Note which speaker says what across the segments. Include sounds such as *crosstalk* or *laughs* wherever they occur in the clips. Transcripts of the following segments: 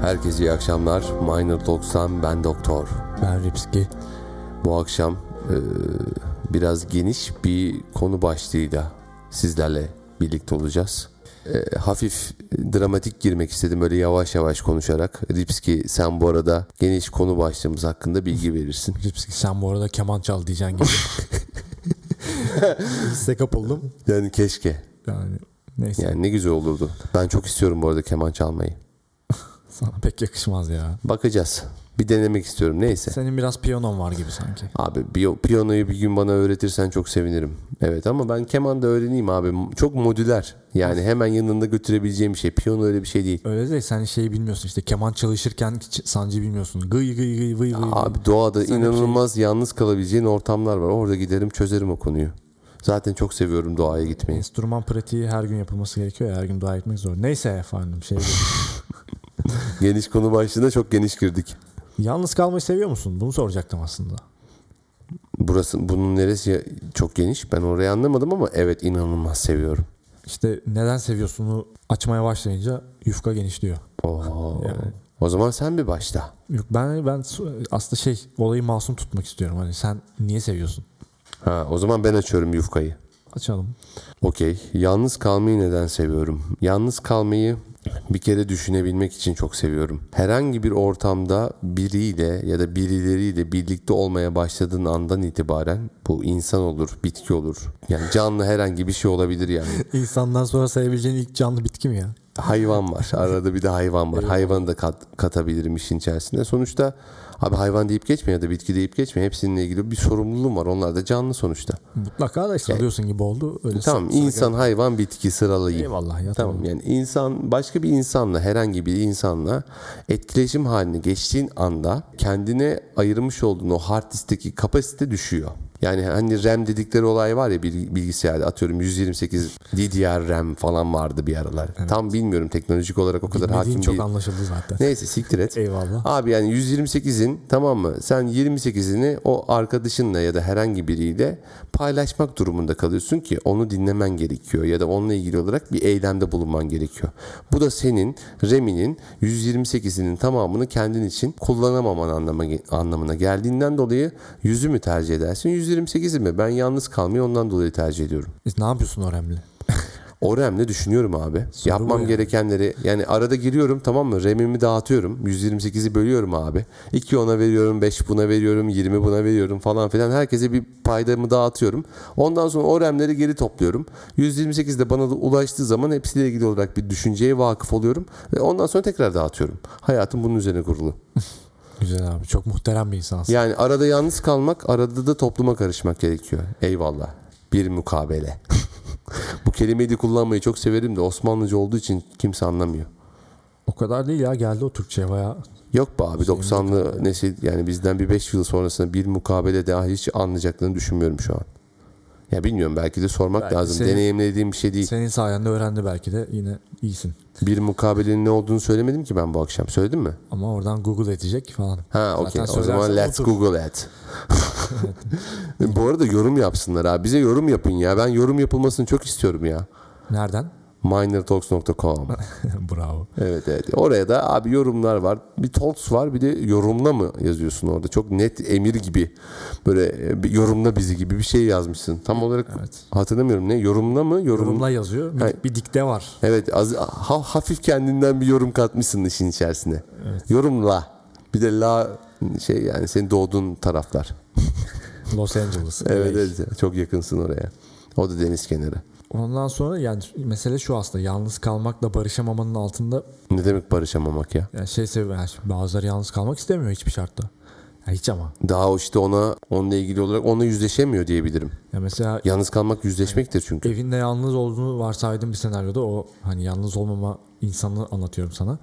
Speaker 1: Herkese iyi akşamlar. Minor 90 ben doktor.
Speaker 2: Ben Ripski.
Speaker 1: Bu akşam eee, biraz geniş bir konu başlığıyla sizlerle birlikte olacağız. Eee, hafif dramatik girmek istedim böyle yavaş yavaş konuşarak. Ripski sen bu arada geniş konu başlığımız hakkında bilgi verirsin.
Speaker 2: Ripski sen bu arada keman çal
Speaker 1: *laughs*
Speaker 2: diyeceksin gibi. Size kapıldım.
Speaker 1: Yani keşke.
Speaker 2: Yani neyse
Speaker 1: Yani ne güzel olurdu. Ben çok istiyorum bu arada keman çalmayı.
Speaker 2: sana pek yakışmaz ya.
Speaker 1: Bakacağız. Bir denemek istiyorum neyse.
Speaker 2: Senin biraz piyanon var gibi sanki.
Speaker 1: Abi biyo- piyanoyu bir gün bana öğretirsen çok sevinirim. Evet ama ben keman da öğreneyim abi. M- Çok modüler. Yani hemen yanında götürebileceğim bir şey. Piyano öyle bir şey değil.
Speaker 2: Öyle de sen şeyi bilmiyorsun işte keman çalışırken ç- sancı bilmiyorsun. Gıy gıy gıy vıy vıy.
Speaker 1: Abi doğada
Speaker 2: Sen hep
Speaker 1: inanılmaz yalnız kalabileceğin ortamlar var. Orada giderim çözerim o konuyu. Zaten çok seviyorum doğaya
Speaker 2: *laughs*
Speaker 1: gitmeyi.
Speaker 2: Enstrüman pratiği her gün yapılması gerekiyor ya her gün dua etmek zor. Neyse efendim şey.
Speaker 1: Geniş konu başlığında çok geniş girdik.
Speaker 2: *laughs* Yalnız kalmayı seviyor musun? Bunu soracaktım aslında.
Speaker 1: Burası bunun neresi ya- çok geniş. Ben orayı anlamadım ama evet inanılmaz seviyorum.
Speaker 2: İşte neden seviyorsunu açmaya başlayınca yufka genişliyor.
Speaker 1: Oo.
Speaker 2: Yani.
Speaker 1: O zaman sen bir başla.
Speaker 2: Yok ben ben su- aslında şey olayı masum tutmak istiyorum. Hani sen niye seviyorsun?
Speaker 1: Ha, o zaman ben açıyorum yufkayı.
Speaker 2: Açalım.
Speaker 1: Okey. Yalnız kalmayı neden seviyorum? Yalnız kalmayı bir kere düşünebilmek için çok seviyorum. Herhangi bir ortamda biriyle ya da birileriyle birlikte olmaya başladığın andan itibaren bu insan olur, bitki olur. Yani canlı herhangi bir şey olabilir yani.
Speaker 2: İnsandan sonra sayabileceğin ilk canlı bitki mi ya?
Speaker 1: Hayvan var. Arada bir de hayvan var. Hayvanı da kat- katabilirim işin içerisinde. Sonuçta abi hayvan deyip geçme ya da bitki deyip geçme. Hepsininle ilgili bir sorumluluğum var. Onlar da canlı sonuçta.
Speaker 2: Mutlaka da işte diyorsun gibi oldu. Öyle
Speaker 1: Tamam
Speaker 2: sa- sa-
Speaker 1: insan, hayvan, bitki sıralayayım.
Speaker 2: Eyvallah ya tamam.
Speaker 1: Tamam yani insan başka bir insanla herhangi bir insanla etkileşim haline geçtiğin anda kendine ayırmış olduğun o hard diskteki kapasite düşüyor. Yani hani RAM dedikleri olay var ya bil- bilgisayarda atıyorum 128 DDR RAM falan vardı bir aralar. Tam bilmiyorum teknolojik olarak o kadar
Speaker 2: Dediğin
Speaker 1: hakim
Speaker 2: çok
Speaker 1: değil.
Speaker 2: anlaşıldı *laughs* zaten.
Speaker 1: Neyse siktir et.
Speaker 2: Eyvallah.
Speaker 1: Abi yani 128'in tamam mı? Sen 28'ini o arkadaşınla ya da herhangi biriyle paylaşmak durumunda kalıyorsun ki onu dinlemen gerekiyor ya da onunla ilgili olarak bir eylemde bulunman gerekiyor. Bu da senin RAM'inin 128'inin tamamını kendin için kullanamaman anlama, anlamına geldiğinden dolayı yüzü mü tercih edersin 128'i mi? Ben yalnız kalmayı ondan dolayı tercih ediyorum.
Speaker 2: E, ne yapıyorsun o remle?
Speaker 1: O RAM'le düşünüyorum abi.
Speaker 2: Soru bu
Speaker 1: Yapmam
Speaker 2: yani.
Speaker 1: gerekenleri yani arada giriyorum tamam mı? RAM'imi dağıtıyorum. 128'i bölüyorum abi. 2 ona veriyorum, 5 buna veriyorum, 20 buna veriyorum falan filan. Herkese bir paydamı dağıtıyorum. Ondan sonra o RAM'leri geri topluyorum. 128 de bana da ulaştığı zaman hepsiyle ilgili olarak bir düşünceye vakıf oluyorum. Ve ondan sonra tekrar dağıtıyorum. Hayatım bunun üzerine kurulu.
Speaker 2: Güzel abi. Çok muhterem bir insansın.
Speaker 1: Yani arada yalnız kalmak, arada da topluma karışmak gerekiyor. Eyvallah. Bir mukabele. *laughs* Bu kelimeyi de kullanmayı çok severim de Osmanlıca olduğu için kimse anlamıyor.
Speaker 2: O kadar değil ya. Geldi o Türkçe bayağı.
Speaker 1: Yok be abi 90'lı nesil yani bizden bir 5 yıl sonrasında bir mukabele daha hiç anlayacaklarını düşünmüyorum şu an. Ya bilmiyorum belki de sormak
Speaker 2: Belki
Speaker 1: lazım.
Speaker 2: senin-
Speaker 1: Deneyimlediğim bir şey değil.
Speaker 2: Senin sayende öğrendi belki de. Yine iyisin.
Speaker 1: Bir mukabelenin ne olduğunu söylemedim ki ben bu akşam. Söyledim mi?
Speaker 2: Ama oradan Google edecek falan.
Speaker 1: Ha okey. O
Speaker 2: söylersen
Speaker 1: zaman let's
Speaker 2: unutur.
Speaker 1: Google
Speaker 2: *laughs*
Speaker 1: it. Bu arada yorum yapsınlar abi. Bize yorum yapın ya. Ben yorum yapılmasını çok istiyorum ya.
Speaker 2: Nereden? *laughs*
Speaker 1: minortalks.com
Speaker 2: Bravo.
Speaker 1: Evet evet. Oraya da abi yorumlar var. Bir talks var bir de yorumla mı yazıyorsun orada? Çok net emir gibi böyle e, bir yorumla bizi gibi bir şey yazmışsın. Tam olarak
Speaker 2: Evet.
Speaker 1: hatırlamıyorum ne? Yorumla mı? Yorum...
Speaker 2: Yorumla yazıyor.
Speaker 1: Hayır.
Speaker 2: Bir, bir dikte var.
Speaker 1: Evet az, ha- hafif kendinden bir yorum katmışsın işin içerisine. Yorumla. Bir de la şey yani senin doğduğun taraflar.
Speaker 2: Los Angeles.
Speaker 1: Evet evet. Çok yakınsın oraya. O da deniz kenarı.
Speaker 2: Ondan sonra yani mesele şu aslında yalnız kalmakla barışamamanın altında
Speaker 1: Ne demek barışamamak ya?
Speaker 2: yani şey sebebi yani şimdi bazıları yalnız kalmak istemiyor hiçbir şartta. Yani hiç ama.
Speaker 1: Daha o işte ona onunla ilgili olarak onunla yüzleşemiyor diyebilirim.
Speaker 2: Ya mesela
Speaker 1: Yalnız kalmak yüzleşmektir çünkü.
Speaker 2: evinde yalnız olduğunu varsaydığım bir senaryoda o hani yalnız olmama insanı anlatıyorum sana.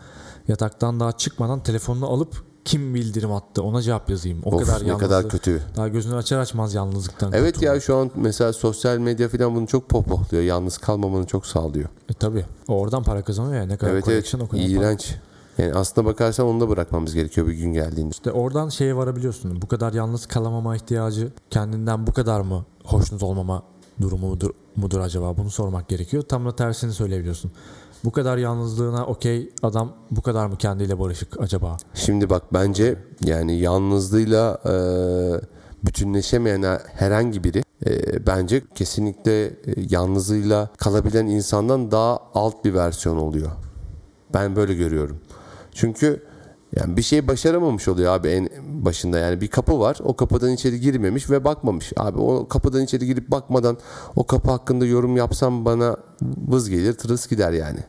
Speaker 2: Yataktan daha çıkmadan telefonunu alıp kim bildirim attı ona cevap yazayım. O
Speaker 1: Of,
Speaker 2: kadar
Speaker 1: ne
Speaker 2: yalnız.
Speaker 1: kadar kötü.
Speaker 2: Daha gözünü açar açmaz yalnızlıktan.
Speaker 1: Evet
Speaker 2: kurtulmak.
Speaker 1: ya şu an mesela sosyal medya falan bunu çok pohpohluyor. Yalnız kalmamanı çok sağlıyor.
Speaker 2: E, tabii. Oradan para kazanıyor ya ne kadar
Speaker 1: evet evet.
Speaker 2: connection o kadar para.
Speaker 1: İğrenç. Yani aslına bakarsan onu da bırakmamız gerekiyor bir gün geldiğinde.
Speaker 2: İşte oradan şeye varabiliyorsun. Bu kadar yalnız kalamama ihtiyacı kendinden bu kadar mı hoşnut olmama durumu mudur, mudur acaba? Bunu sormak gerekiyor. Tam da tersini söyleyebiliyorsun. Bu kadar yalnızlığına okey adam bu kadar mı kendiyle barışık acaba?
Speaker 1: Şimdi bak bence yani yalnızlığıyla e, bütünleşemeyen herhangi biri e, bence kesinlikle e, yalnızlığıyla kalabilen insandan daha alt bir versiyon oluyor. Ben böyle görüyorum. Çünkü yani bir şey başaramamış oluyor abi en başında. Yani bir kapı var. O kapıdan içeri girmemiş ve bakmamış. Abi o kapıdan içeri girip bakmadan o kapı hakkında yorum yapsam bana vız gelir, tırıs gider yani.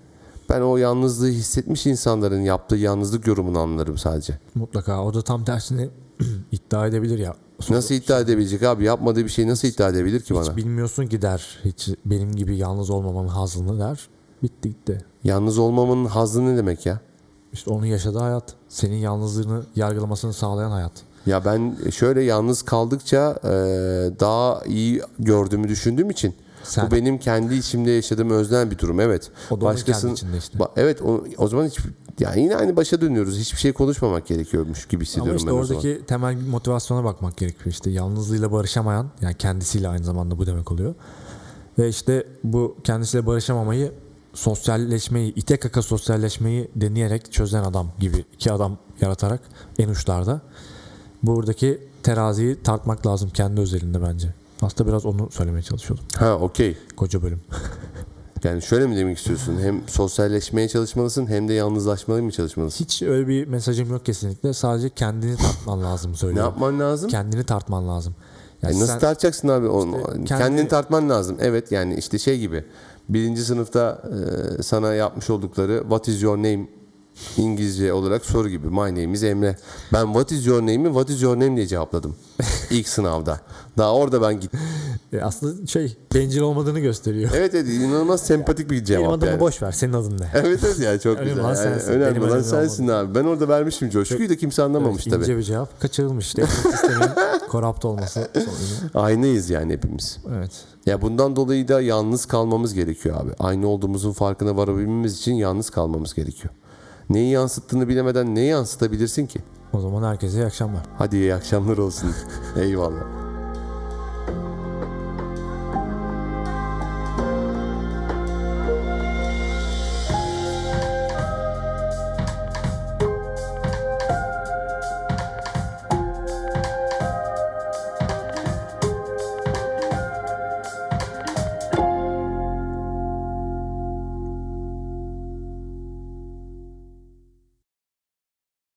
Speaker 1: Ben o yalnızlığı hissetmiş insanların yaptığı yalnızlık yorumunu anlarım sadece.
Speaker 2: Mutlaka o da tam tersini *clears throat* iddia edebilir ya.
Speaker 1: Nasıl iddia edebilecek abi? Yapmadığı bir şeyi nasıl iddia edebilir ki bana?
Speaker 2: Hiç bilmiyorsun ki der. Hiç benim gibi yalnız olmamanın hazını der. Bitti gitti.
Speaker 1: Yalnız olmamanın hazzı ne demek ya?
Speaker 2: İşte onun yaşadığı hayat. Senin yalnızlığını yargılamasını sağlayan hayat.
Speaker 1: Ya ben şöyle yalnız kaldıkça e, daha iyi gördüğümü düşündüğüm için
Speaker 2: Sen-
Speaker 1: bu benim kendi içimde yaşadığım öznel bir durum evet.
Speaker 2: O da onun kendi içinde işte.
Speaker 1: Ba- evet o, o zaman hiç yani yine aynı başa dönüyoruz. Hiçbir şey konuşmamak gerekiyormuş gibi
Speaker 2: Ama
Speaker 1: hissediyorum
Speaker 2: işte
Speaker 1: ben o zaman.
Speaker 2: oradaki temel motivasyona bakmak gerekiyor. İşte yalnızlığıyla barışamayan yani kendisiyle aynı zamanda bu demek oluyor. Ve işte bu kendisiyle barışamamayı sosyalleşmeyi, ite kaka sosyalleşmeyi deneyerek çözen adam gibi iki adam yaratarak en uçlarda. Buradaki teraziyi tartmak lazım kendi özelinde bence. Aslında biraz onu söylemeye çalışıyordum.
Speaker 1: Ha okey.
Speaker 2: Koca bölüm.
Speaker 1: Yani şöyle mi demek istiyorsun? Hem sosyalleşmeye çalışmalısın hem de yalnızlaşmaya mı çalışmalısın?
Speaker 2: Hiç öyle bir mesajım yok kesinlikle. Sadece kendini tartman lazım
Speaker 1: Ne
Speaker 2: söylüyorum.
Speaker 1: yapman lazım?
Speaker 2: Kendini tartman lazım. Yani
Speaker 1: E nasıl
Speaker 2: sen-
Speaker 1: tartacaksın abi onu?
Speaker 2: kendi-
Speaker 1: Kendini tartman lazım. Evet yani işte şey gibi. Birinci sınıfta e, sana yapmış oldukları what is your name İngilizce olarak soru gibi. My name is Emre. Ben what is your name'i what is your name diye
Speaker 2: *laughs*
Speaker 1: cevapladım. İlk sınavda. Daha orada ben gittim.
Speaker 2: E, aslında şey bencil olmadığını gösteriyor.
Speaker 1: Evet evet inanılmaz sempatik bir
Speaker 2: Benim
Speaker 1: cevap
Speaker 2: adımı
Speaker 1: yani.
Speaker 2: boş ver. Senin adın ne?
Speaker 1: Evet evet yani çok
Speaker 2: Önemli
Speaker 1: güzel.
Speaker 2: olan
Speaker 1: Yani
Speaker 2: sensin.
Speaker 1: önemli
Speaker 2: Benim
Speaker 1: olan
Speaker 2: önemli
Speaker 1: sensin abi. Ben orada vermiştim coşkuyu da kimse anlamamış
Speaker 2: İnce
Speaker 1: tabii.
Speaker 2: bir cevap. Kaçırılmış.
Speaker 1: *laughs*
Speaker 2: Devlet sistemin korapt olması sorunu.
Speaker 1: Aynıyız yani hepimiz.
Speaker 2: Evet.
Speaker 1: Ya bundan dolayı da yalnız kalmamız gerekiyor abi. Aynı olduğumuzun farkına varabilmemiz için yalnız kalmamız gerekiyor. Neyi yansıttığını bilemeden neyi yansıtabilirsin ki?
Speaker 2: O zaman herkese iyi akşamlar.
Speaker 1: Hadi iyi akşamlar olsun. *laughs* Eyvallah.